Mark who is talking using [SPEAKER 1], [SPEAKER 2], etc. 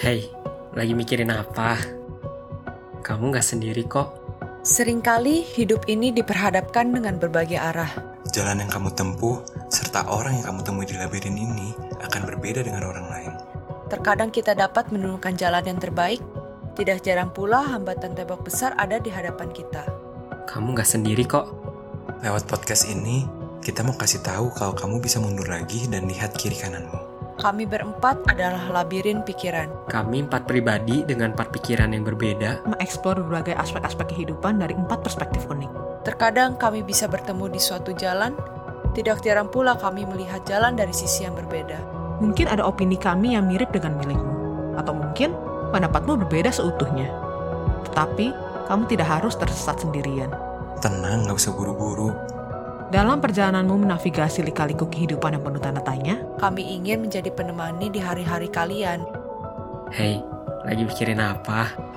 [SPEAKER 1] Hei, lagi mikirin apa? Kamu gak sendiri kok.
[SPEAKER 2] Seringkali hidup ini diperhadapkan dengan berbagai arah.
[SPEAKER 3] Jalan yang kamu tempuh serta orang yang kamu temui di labirin ini akan berbeda dengan orang lain.
[SPEAKER 2] Terkadang kita dapat menemukan jalan yang terbaik, tidak jarang pula hambatan tembok besar ada di hadapan kita.
[SPEAKER 1] Kamu gak sendiri kok.
[SPEAKER 3] Lewat podcast ini, kita mau kasih tahu kalau kamu bisa mundur lagi dan lihat kiri kananmu.
[SPEAKER 2] Kami berempat adalah labirin pikiran.
[SPEAKER 1] Kami empat pribadi dengan empat pikiran yang berbeda.
[SPEAKER 4] mengeksplor berbagai aspek-aspek kehidupan dari empat perspektif unik.
[SPEAKER 2] Terkadang kami bisa bertemu di suatu jalan, tidak jarang pula kami melihat jalan dari sisi yang berbeda.
[SPEAKER 4] Mungkin ada opini kami yang mirip dengan milikmu, atau mungkin pendapatmu berbeda seutuhnya. Tetapi, kamu tidak harus tersesat sendirian.
[SPEAKER 3] Tenang, nggak usah buru-buru.
[SPEAKER 4] Dalam perjalananmu menavigasi lika-liku kehidupan yang penuh tanda tanya,
[SPEAKER 2] Kami ingin menjadi penemani di hari-hari kalian.
[SPEAKER 1] Hei, lagi mikirin apa?